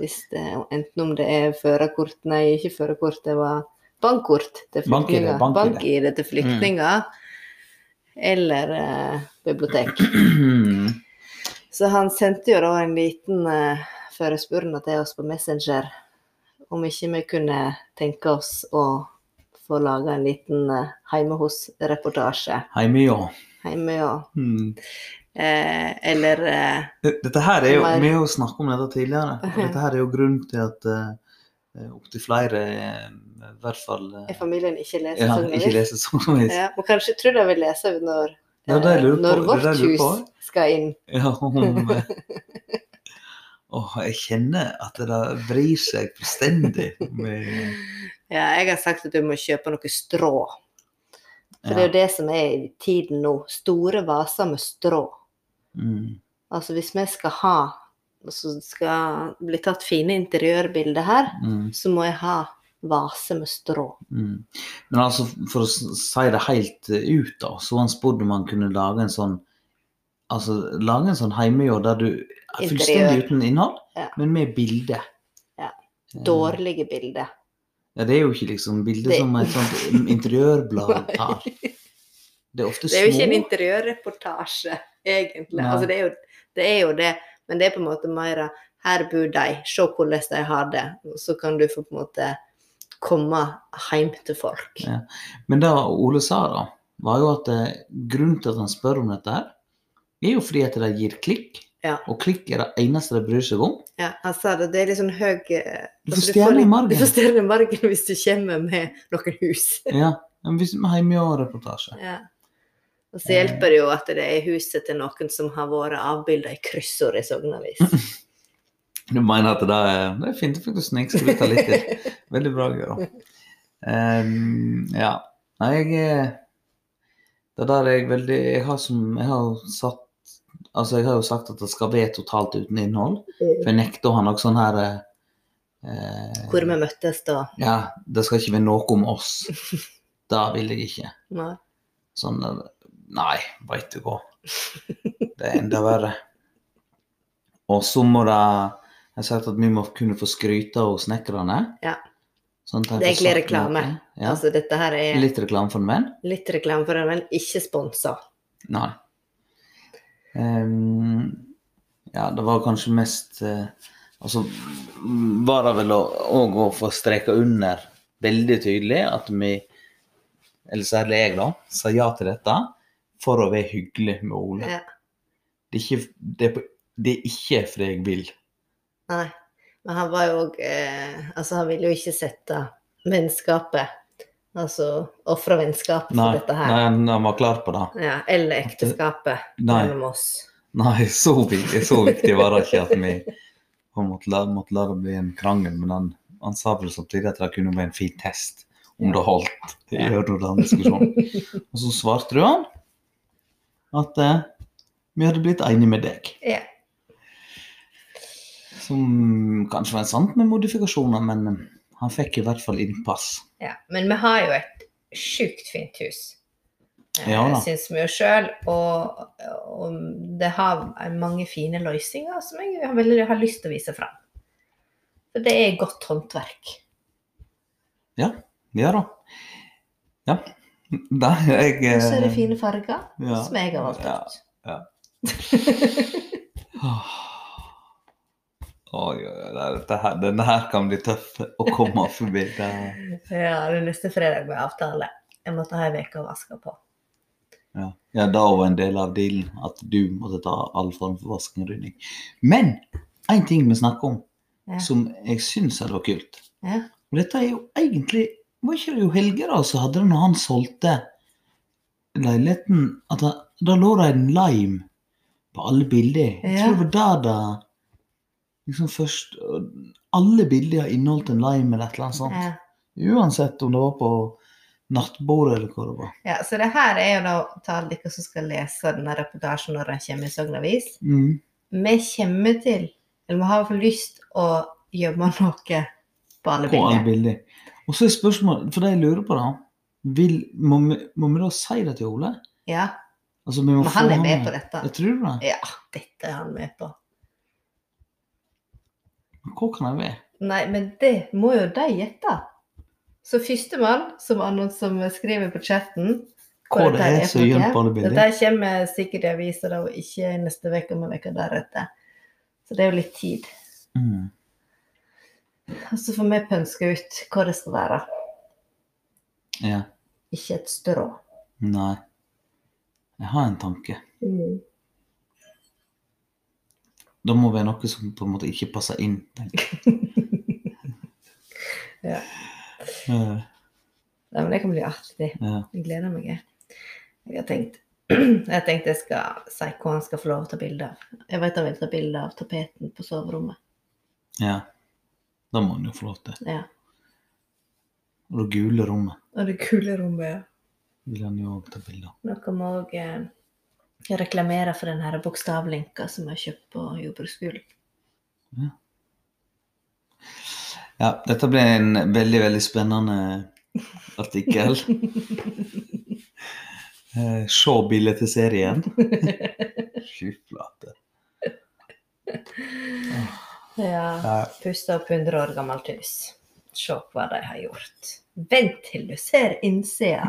S1: Hvis det, enten om det er førerkort, nei, ikke førerkort, det var bankkort til
S2: Bank-ID,
S1: flyktninger.
S2: bank-ID.
S1: Bank-ID til flyktninger. Eller eh, bibliotek. Så han sendte jo da en liten uh, forespurning til oss på Messenger om ikke vi kunne tenke oss å få laga en liten eh, heime hos-reportasje.
S2: Heime, ja.
S1: Heime og
S2: Mm.
S1: eh, Eller eh,
S2: Dette her er jo,
S1: Eller-
S2: Vi har jo snakket om dette tidligere. og Dette her er jo grunnen til at eh, opptil flere eh, i hvert fall eh,
S1: er familien ikke leser
S2: ja,
S1: sånn
S2: ikke
S1: eller?
S2: leser sangvis.
S1: Ja, og kanskje tror de vil lese når,
S2: Ja, det jeg
S1: eh,
S2: lurer på-
S1: når
S2: det
S1: vårt
S2: jeg lurer
S1: hus
S2: på.
S1: skal inn.
S2: Ja, om,
S1: [LAUGHS]
S2: eh, åh, jeg kjenner at det da vrir seg fullstendig. med-
S1: Ja, jeg har sagt at du må kjøpe noe strå. For det er
S2: Ja.
S1: jo det som er i tiden nå. Store vaser med strå.
S2: Mm.
S1: Altså hvis vi skal ha og så skal bli tatt fine interiørbilder her,
S2: Mm.
S1: så må jeg ha vase med strå.
S2: Mm. Men altså, for å s- si det helt eh, ut, da, så var han spurte om han kunne lage en sånn Altså lage en sånn heimejobb der du er fullstendig
S1: Interiør.
S2: uten innhold,
S1: Ja.
S2: men med bilde.
S1: Ja.
S2: Eh,
S1: Dårlige bilder.
S2: Ja, det er jo ikke liksom bilde
S1: Det-
S2: som et
S1: [LAUGHS]
S2: sånt interiørblad tar. Det er ofte
S1: Det er jo ikke en
S2: små.
S1: interiørreportasje, egentlig.
S2: Nei.
S1: Altså, det, er jo, det er jo det, men det er på en måte mer her bor de, se hvordan de har det. Og Så kan du få på en måte komme hjem til folk.
S2: Ja. Men det Ole sa, da, var jo at eh, grunnen til at han spør om dette her, er jo fordi at det gir klikk.
S1: Ja.
S2: Og klikk er det eneste de bryr seg om.
S1: Ja, han sa det. Det er litt sånn høy eh,
S2: Du får
S1: altså,
S2: stjerne i
S1: litt-
S2: margen.
S1: Du får stjerne i margen hvis du kommer med noen hus.
S2: Ja, men hvis vi har hjemmereportasje.
S1: Ja. Og så hjelper det jo at det er huset til noen som har vært avbilda i kryssord i
S2: [LAUGHS]
S1: Sognavis.
S2: Du mener at det er, det er fint å faktisk snikskryte litt til. Veldig bra, Gøran. Ehm, ja. Nei, jeg er- Det der er jeg veldig Jeg har som Jeg har satt Altså, jeg har jo sagt at det skal være totalt uten innhold. For jeg nekter å ha noe sånn her eh,
S1: Hvor vi møttes da.
S2: Ja, det skal ikke være noe om oss. Det vil jeg ikke.
S1: Nei.
S2: Sånn eh, Nei, veit du hva. Det er enda verre. Og så må det Jeg har sagt at vi må kunne få skryte av snekkerne.
S1: Ja.
S2: Sånn at jeg
S1: Det er
S2: får sagt
S1: egentlig reklame.
S2: noe. Ja.
S1: Altså, dette her er
S2: Litt reklame for menn?
S1: litt reklame for den, men ikke sponsa.
S2: Nei. Ehm, ja, det var kanskje mest eh, Altså var det vel å- òg å få streka under veldig tydelig at vi, eller særlig jeg, da, sa ja til dette for å være hyggelig med Ole.
S1: Ja.
S2: Det, er ikke, det, er på, det er ikke fordi jeg vil.
S1: Nei. Men han var jo òg eh, Altså, han ville jo ikke sette vennskapet Altså ofre vennskapet
S2: Nei,
S1: for Altså, dette her.
S2: nei han var klar på det.
S1: Ja, eller ekteskapet
S2: Nei.
S1: mellom oss.
S2: Nei, [LAUGHS] så viktig, så viktig var det ikke at vi på en måte la, måtte la det bli en krangel. Men han, han sa vel samtidig at det kunne være en fin test om det holdt. i
S1: Ja.
S2: hører den diskusjonen.
S1: [LAUGHS]
S2: Og så svarte du han at eh, vi hadde blitt enige med deg.
S1: Ja.
S2: Som kanskje var sant med modifikasjoner, men eh, han fikk i hvert fall innpass.
S1: Ja, men vi har jo et sjukt fint hus, eh,
S2: Ja da.
S1: syns vi jo sjøl. Og, og det har mange fine løsninger som jeg har veldig har lyst til å vise fram. For det er godt håndverk.
S2: Ja da. Ja. Da, jeg, eh,
S1: Og så er det fine farger,
S2: ja.
S1: som jeg har valgt
S2: Ja.
S1: ut.
S2: Åh. Oi, oi, oi, det er- dette her, denne her kan bli tøff å komme forbi. Det,
S1: Ja, det er neste fredag med avtale. Jeg måtte ha ei uke å vaske på.
S2: ja. ja, da var en del av dealen at du måtte ta all form for vasking og rydding. Men én ting vi snakker om
S1: Ja.
S2: som jeg syns hadde vært kult
S1: Ja.
S2: Og dette er jo egentlig Var ikke det jo Helge da som hadde det når han solgte leiligheten? At han, da lå det en lime på alle bilder. Jeg
S1: Ja.
S2: tror det var der det liksom først Alle bilder har inneholdt en lime eller et eller annet sånt.
S1: Ja.
S2: Uansett om det var på nattbordet eller hva det var.
S1: ja, så det her er jo da til dere som skal lese denne reportasjen når den kommer i Sogn Avis.
S2: Mm.
S1: vi kommer til, eller vi har i hvert fall lyst å gjemme noe på alle
S2: På alle
S1: bilder.
S2: bilder. Og så er spørsmålet, for det jeg lurer på da vil, må, vi, må vi da si det til Ole?
S1: Ja,
S2: Altså, vi må
S1: men
S2: få
S1: han er med
S2: med.
S1: på dette.
S2: Jeg tror det.
S1: Ja, dette er han med på.
S2: Hva kan jeg være?
S1: Nei, men det må jo de gjette. Så førstemann som, annon- som skriver på chatten
S2: Hva det
S1: dette
S2: er som
S1: for
S2: gjør
S1: noe.
S2: på alle bilder?
S1: Dette kommer sikkert i avisa da, og ikke neste uke, men uka deretter. Så det er jo litt tid.
S2: Mm.
S1: Og så får vi pønske ut hva det skal være.
S2: Ja.
S1: Ikke et strå.
S2: Nei. Jeg har en tanke. Det må være noe som på en måte ikke passer inn, tenker jeg.
S1: [LAUGHS] Ja.
S2: Eh,
S1: Nei, men det kan bli artig.
S2: ja.
S1: Jeg gleder meg. jeg. Jeg har tenkt [CLEARS THROAT] jeg har tenkt jeg skal si hva han skal få lov til å ta bilde av. Jeg vet han vil ta bilde av tapeten på soverommet.
S2: ja. Da må en jo få lov til.
S1: Ja.
S2: Og det gule rommet
S1: Og det kule rommet, ja.
S2: vil han jo òg ta bilde av.
S1: Noe må òg eh, reklamere for den her bokstavlinka som jeg har kjøpt på jordbruksskolen.
S2: Ja, dette ble en veldig, veldig spennende artikkel. Eh, Se bildet til serien. Fy flate.
S1: Ja.
S2: Ja,
S1: Puste opp 100 år gammelt hus. Se hva de har gjort. Vent til du ser innsida.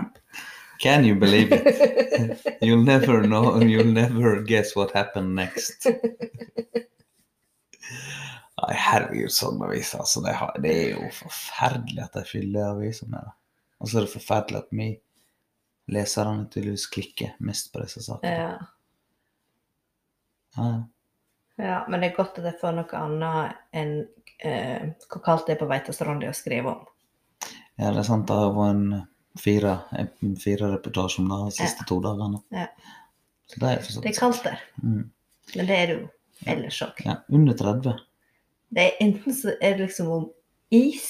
S2: Can you believe it? You'll never know and you'll never guess what happened next. Nei, herregud, sånne aviser. Altså, det, har, det er jo forferdelig at de fyller aviser med det. Og så er det forferdelig at vi leserne tydeligvis klikker mest på disse sakene.
S1: Ja.
S2: Ja, ja.
S1: Ja, men det er godt at jeg får noe annet enn eh, hvor kaldt det er på Veitastranda å skrive om.
S2: Ja, det er sant. Det har vært en fire, en fire reportasjer om det de siste to dagene.
S1: Ja.
S2: Så det er for så
S1: Det er
S2: vidt
S1: kaldt der,
S2: mm.
S1: men det er det jo ellers òg.
S2: ja, Under 30.
S1: Det er enten så er det liksom om is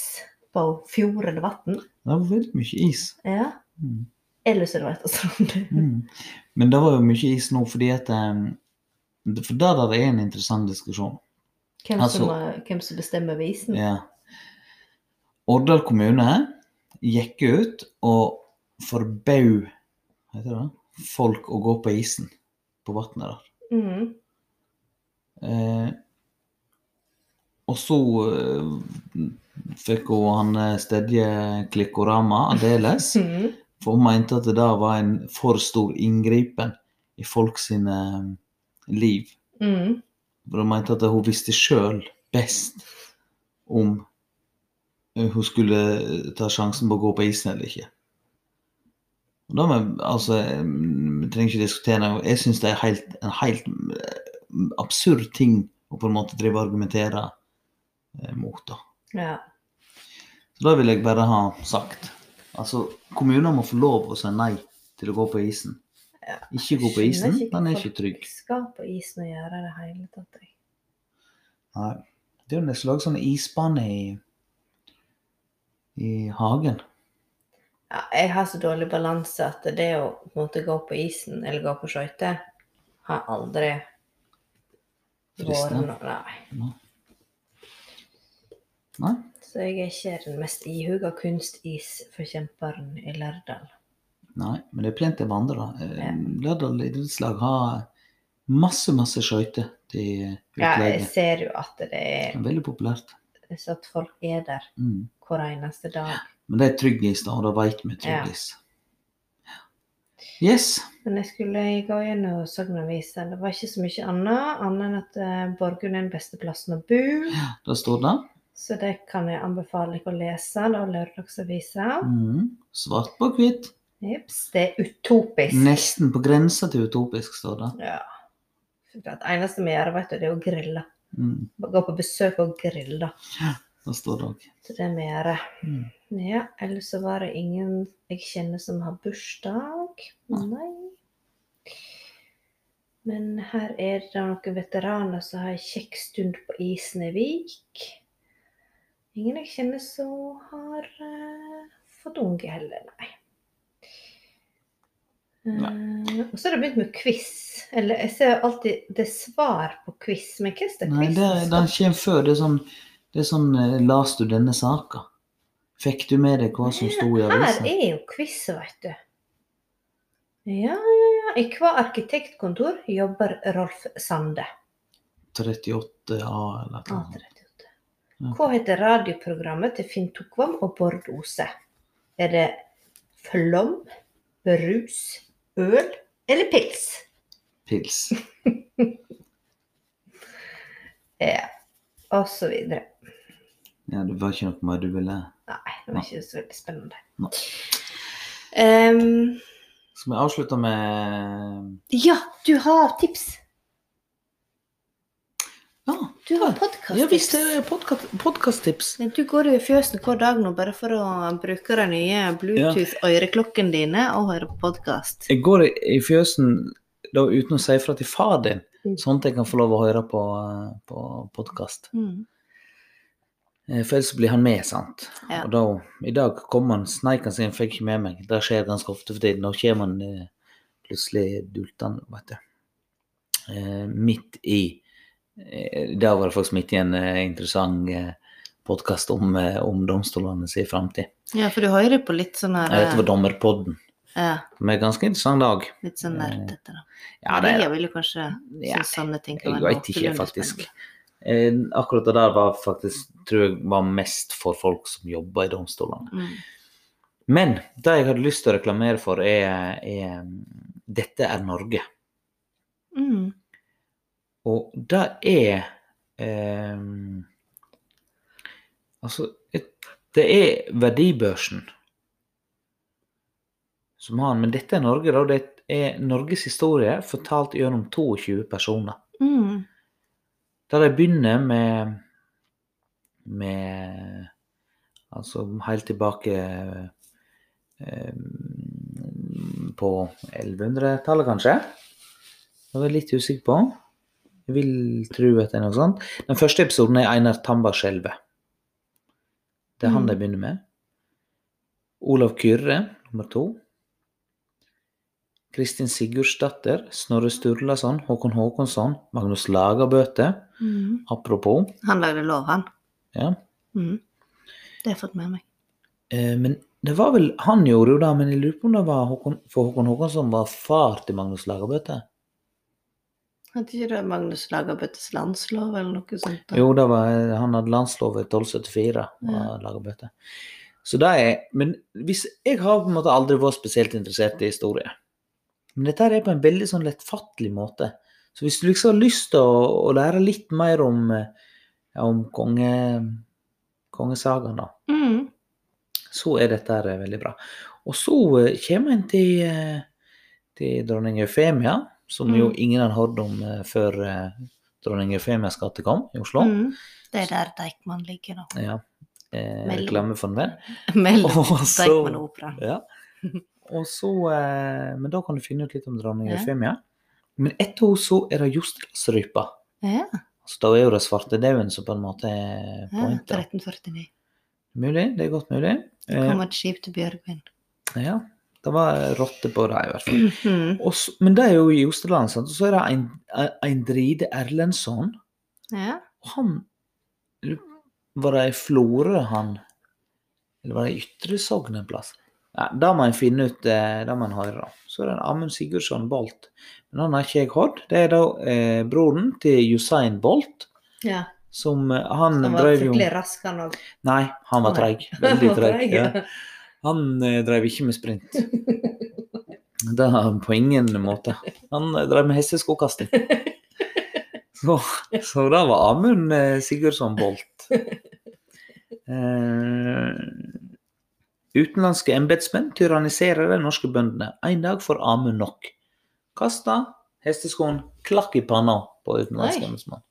S1: på fjord eller vann,
S2: Det var veldig mye is.
S1: ja.
S2: Mm.
S1: eller så er det Veitastranda.
S2: Mm. Men det var jo mye is nå fordi at em, det- For der er det en interessant diskusjon.
S1: Hvem, som,
S2: Altså-
S1: eh, hvem som bestemmer over isen.
S2: Ja. Årdal kommune gikk ut og forbød heter det, folk å gå på isen på vannet der.
S1: Mm.
S2: Eh, og så eh, fikk hun han eh, stedje Klikkorama Adeles,
S1: [LAUGHS] Mm.
S2: for hun mente at det da var en for stor inngripen i folk sine eh, liv.
S1: Mm.
S2: For hun mente at hun visste sjøl best om eh, hun skulle ta sjansen på å gå på isen eller ikke. Og da må jeg, altså, eh, Vi trenger ikke diskutere det. Jeg syns det er helt, en helt eh, absurd ting å på en måte drive og argumentere eh, mot. da.
S1: Ja.
S2: Så da vil jeg bare ha sagt. Altså, kommuner må få lov å si nei til å gå på isen.
S1: Ja.
S2: Ikke gå på
S1: Skjønner
S2: isen,
S1: ikke
S2: den er
S1: hvorfor
S2: ikke trygg.
S1: Jeg skal på isen og gjøre det hele tatt. jeg.
S2: Nei. Det er jo nesten laget sånn isbane i, i hagen.
S1: Ja, jeg har så dårlig balanse at det å på en måte gå på isen eller gå på skøyter har aldri vært
S2: Fristende.
S1: noe Nei.
S2: Nei?
S1: Så jeg er ikke den mest ihuga kunstisforkjemperen i Lærdal.
S2: Nei, men det er plenty av andre. da. Eh,
S1: Ja.
S2: Lærdal idrettslag har masse, masse skøyter til
S1: Ja, jeg
S2: utleie.
S1: ser jo at det er
S2: Det er veldig populært.
S1: så at folk er der
S2: Mm.
S1: hver eneste dag.
S2: Men det er trygg is, da, og det vet vi er
S1: Ja.
S2: trygg is. Yes.
S1: Men jeg skulle gå gjennom Sogn Avis. Det var ikke så mye annet, annet enn at eh, Borgund er den beste plassen å bo.
S2: Det står det.
S1: Så det kan jeg anbefale dere å lese. Da lørdagsavisa.
S2: Mm. Svart på hvitt.
S1: Jeps, det er utopisk.
S2: Nesten på grensa til utopisk, står det.
S1: Ja. Det eneste vi gjør, vet du, det er å grille.
S2: Mm.
S1: Gå på besøk og grille.
S2: Det står det òg.
S1: Så det er vi gjør.
S2: Mm.
S1: Ja, ellers så var det ingen jeg kjenner som har bursdag. Nei. Men her er det noen veteraner som har en kjekk stund på isen i Vik. Ingen jeg kjenner som har eh, fått unge heller, nei. Eh, og så har det begynt med quiz. Eller jeg ser alltid det er svar på quiz, men hva er det
S2: Nei, det,
S1: quiz?
S2: den kommer før. Det er sånn, det er sånn eh, Las du denne saka? Fikk du med deg hva som sto i
S1: Her
S2: avisa?
S1: er jo quiz, vet du. Ja, ja, ja. I hva arkitektkontor jobber Rolf Sande?
S2: 38A eller noe. sånt.
S1: A38. Hva heter radioprogrammet til Finn Tokvam og Bård Ose? Er det flom, rus, øl eller pils?
S2: Pils.
S1: Ja, og så videre.
S2: Ja, det var ikke noe mer du ville
S1: Nei, det var ikke så veldig
S2: Nei.
S1: spennende. Ehm,
S2: Skal vi avslutte eh, med
S1: ja, du har tips.
S2: Ja,
S1: Du har
S2: ja visst
S1: podkast-tips.
S2: det er podkasttips.
S1: Men du går jo i fjøsen hver dag nå bare for å bruke de nye Bluetooth-øreklokkene dine og høre på podkast.
S2: Jeg går i- i fjøsen da uten å si fra til far din,
S1: Mm.
S2: sånn at jeg kan få lov å høre på, eh, på podkast.
S1: Mm.
S2: Eh, For ellers blir han med, sant.
S1: Ja.
S2: Og da, i dag kom han sneikende inn, fikk ikke med meg. Det skjer ganske ofte for tiden. Nå kommer han eh, plutselig dultende, vet du. Eh, midt i eh, Da var det faktisk midt i en eh, interessant eh, podkast om, eh, om domstolene sin framtid.
S1: Ja, for du hører på litt sånn her
S2: Dette var Dommerpodden.
S1: ja,
S2: Med ganske interessant dag.
S1: Litt sånn nerdete, da.
S2: Eh, Ja, det er
S1: Maria vil jo kanskje
S2: ja,
S1: synes sånne ting kan
S2: Jeg
S1: være
S2: veit ikke,
S1: noenlunde
S2: faktisk.
S1: spennende.
S2: Eh, akkurat det der var faktisk, tror jeg var mest for folk som jobber i domstolene.
S1: Mm.
S2: Men det jeg hadde lyst til å reklamere for, er, er mm, Dette er Norge.
S1: Mm.
S2: Og det er ehm, Altså, et- det er verdibørsen som har den, men dette er Norge, da. og Det er Norges historie fortalt gjennom 22 personer.
S1: Mm.
S2: Der de begynner med med Altså helt tilbake eh, på 1100-tallet, kanskje. Det var jeg litt usikker på. Jeg vil tro at det er noe sånt. Den første episoden er Einar Tambarskjelvet. Det er han
S1: Mm.
S2: de begynner med. Olav Kyrre, nummer to. Kristin Sigurdsdatter, Snorre Sturlason, Håkon Håkonsson, Magnus Lagerbøte.
S1: Mhm.
S2: Apropos.
S1: Han lagde lov, han.
S2: Ja.
S1: Mhm. Det har jeg fått med meg.
S2: Eh, men det var vel Han gjorde jo det, men jeg lurer på om det var Håkon, for Håkon Håkonsson var far til Magnus Lagerbøte?
S1: Hadde ikke det Magnus Lagerbøttes landslov eller noe sånt? da?
S2: Jo, det var, han hadde landslov i 1274 og
S1: Ja.
S2: Lagerbøte. Så det er Men hvis Jeg har på en måte aldri vært spesielt interessert i historie. Men dette her er på en veldig sånn lettfattelig måte. Så hvis du liksom har lyst til å, å lære litt mer om, eh, om konge, kongesagaen, da,
S1: Mhm.
S2: så er dette her eh, veldig bra. Og så eh, kommer en til, eh, til dronning Eufemia, som jo
S1: Mm.
S2: ingen hadde hørt om eh, før eh, dronning Eufemias gate kom i Oslo.
S1: Mhm. Det er der Deichman
S2: [LAUGHS]
S1: ligger nå.
S2: Ja. Eh,
S1: Mellom.
S2: reklame for en venn.
S1: Mellom
S2: Og
S1: Deichman
S2: så,
S1: og operaen.
S2: ja. og så eh, Men da kan du finne ut litt om dronning
S1: Ja.
S2: Eufemia. Men etter henne så er det Jostedalsrypa.
S1: Ja,
S2: Altså, da er jo det svartedauden som på en måte er
S1: ja,
S2: pointet.
S1: 1349.
S2: Mulig, det er godt mulig. Eh,
S1: Kom et skip til Bjørgvin.
S2: ja. Det var rotter på det, i hvert fall.
S1: Mhm.
S2: Og så, men det er jo i Osterland, sant? og så er det ein, Eindride Erlendsson.
S1: Ja.
S2: Og han Var det i Florø, han? Eller var det i Ytre Sogn en plass? Ja, det må en finne ut, eh, det må en høre. da. Så er det en Amund Sigurdsson Bolt. Men han har ikke jeg hørt. Det er da eh, broren til Usain Bolt.
S1: ja.
S2: Som eh, han,
S1: Han var
S2: drev jo
S1: fryktelig rask, han òg.
S2: Nei, [LAUGHS] han var
S1: Å, nei.
S2: treig. Veldig
S1: Han var
S2: treig.
S1: treig,
S2: Ja.
S1: ja.
S2: Han eh, drev ikke med [LAUGHS] sprint. Det har han på ingen måte. Han eh, drev med [LAUGHS] hesteskokasting. Så, så det var Amund eh, Sigurdsson Bolt. Eh, utenlandske embetsmenn tyranniserer de norske bøndene. En dag får Amund nok. Kasta hesteskoen klakk i panna på utenlandske
S1: Oi.
S2: embetsmann.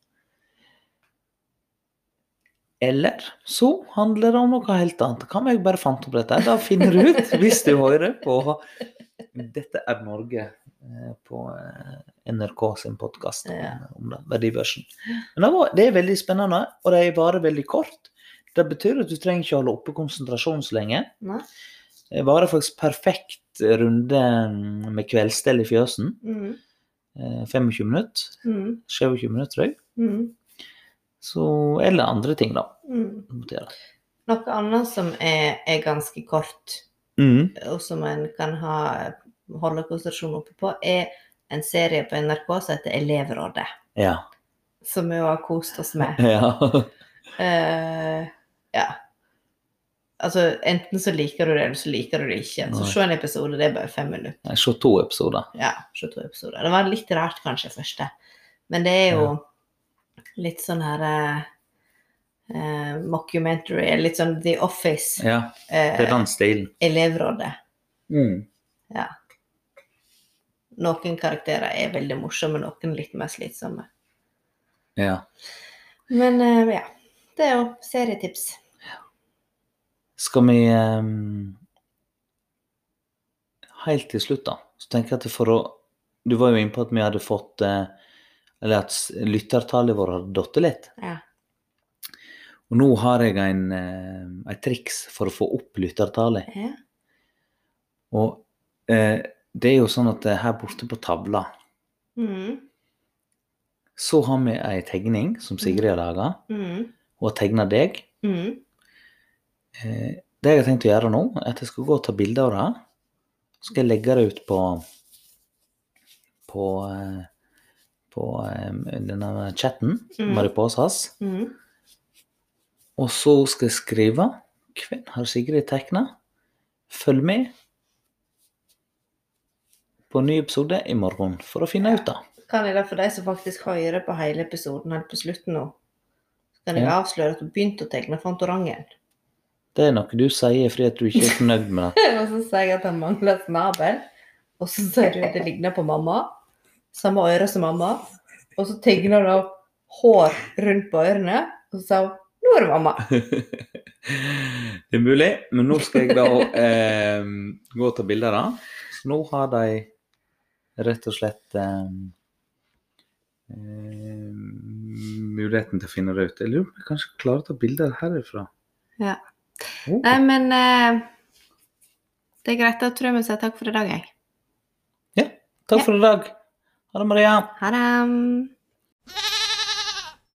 S2: Eller så handler det om noe helt annet. Hva om jeg bare fant opp dette? Da finner du ut, hvis du hører på Dette er Norge eh, på eh, NRK sin podkast om,
S1: Ja.
S2: om det, Verdiversen. Men det, var, det er veldig spennende, og de varer veldig kort. Det betyr at du trenger ikke holde oppe konsentrasjonen så lenge.
S1: Nei.
S2: Det varer faktisk perfekt runde mm, med kveldsstell i fjøsen.
S1: Mhm.
S2: eh, 25 minutter.
S1: Mhm.
S2: 27 minutter, tror jeg.
S1: Mhm.
S2: Så, eller andre ting, da.
S1: Mhm.
S2: du måtte gjøre.
S1: Noe annet som er, er ganske kort,
S2: Mm.
S1: og som en kan ha, holde konsentrasjonen oppe på, er en serie på NRK som heter Elevrådet.
S2: Ja. [LAUGHS]
S1: Som vi jo har kost oss med.
S2: ja.
S1: Eh, ja. Altså, enten så liker du det, eller så liker du det ikke. Så
S2: Nei.
S1: se en episode, det er bare fem minutter.
S2: Jeg så to episoder.
S1: Ja, se to episoder. Det var litt rart, kanskje, første. Men det er jo litt sånn her eh, eh, Mockumentary, eller litt sånn The Office.
S2: Ja, det er
S1: eh,
S2: den stilen.
S1: elevrådet.
S2: Mm.
S1: Noen karakterer er veldig morsomme, noen litt mer slitsomme.
S2: Ja.
S1: Men eh, ja. Det er jo serietips.
S2: Skal vi ehm, Helt til slutt, da, så tenker jeg at for å Du var jo inne på at vi hadde fått eh, Eller at s- lyttertallet vårt hadde datt litt.
S1: Ja.
S2: Og nå har jeg en, eh, et triks for å få opp lyttertallet.
S1: Ja.
S2: Og eh, det er jo sånn at eh, her borte på tavla
S1: Mm,
S2: så har vi ei tegning som Sigrid har laga.
S1: mm,
S2: Hun har tegna deg.
S1: mm.
S2: Eh, det jeg har tenkt å gjøre nå, er at jeg skal gå og ta bilde av det. Så skal jeg legge det ut på på, eh, på eh, denne chatten
S1: Mm.
S2: Mariposas.
S1: mm.
S2: Og så skal jeg skrive Hvem har Sigrid tegna? Følg med på en ny episode i morgen for å finne ut det.
S1: kan jeg da for de som faktisk hører på hele episoden helt på slutten nå, så kan jeg
S2: Ja.
S1: avsløre at du begynte å tegne Fantorangen.
S2: Det er noe du sier fordi at du ikke er fornøyd med det.
S1: [LAUGHS] og så sier jeg at han mangler snabel, og så sier du at det ligner på mamma. Samme øre som mamma. Og så tegner du opp hår rundt på ørene og sa 'Nå er det mamma'.
S2: Det er mulig, men nå skal jeg da eh, gå og ta bilder av. Så nå har de rett og slett eh, eh, muligheten til å finne det ut. Jeg lurer på om jeg kanskje klarer å ta bilder herifra.
S1: Ja.
S2: Oh.
S1: Nei, men eh, det er greit. Da tror jeg vi sier takk for i dag, jeg.
S2: Takk for i dag. Ha det, Maria.
S1: Ha det.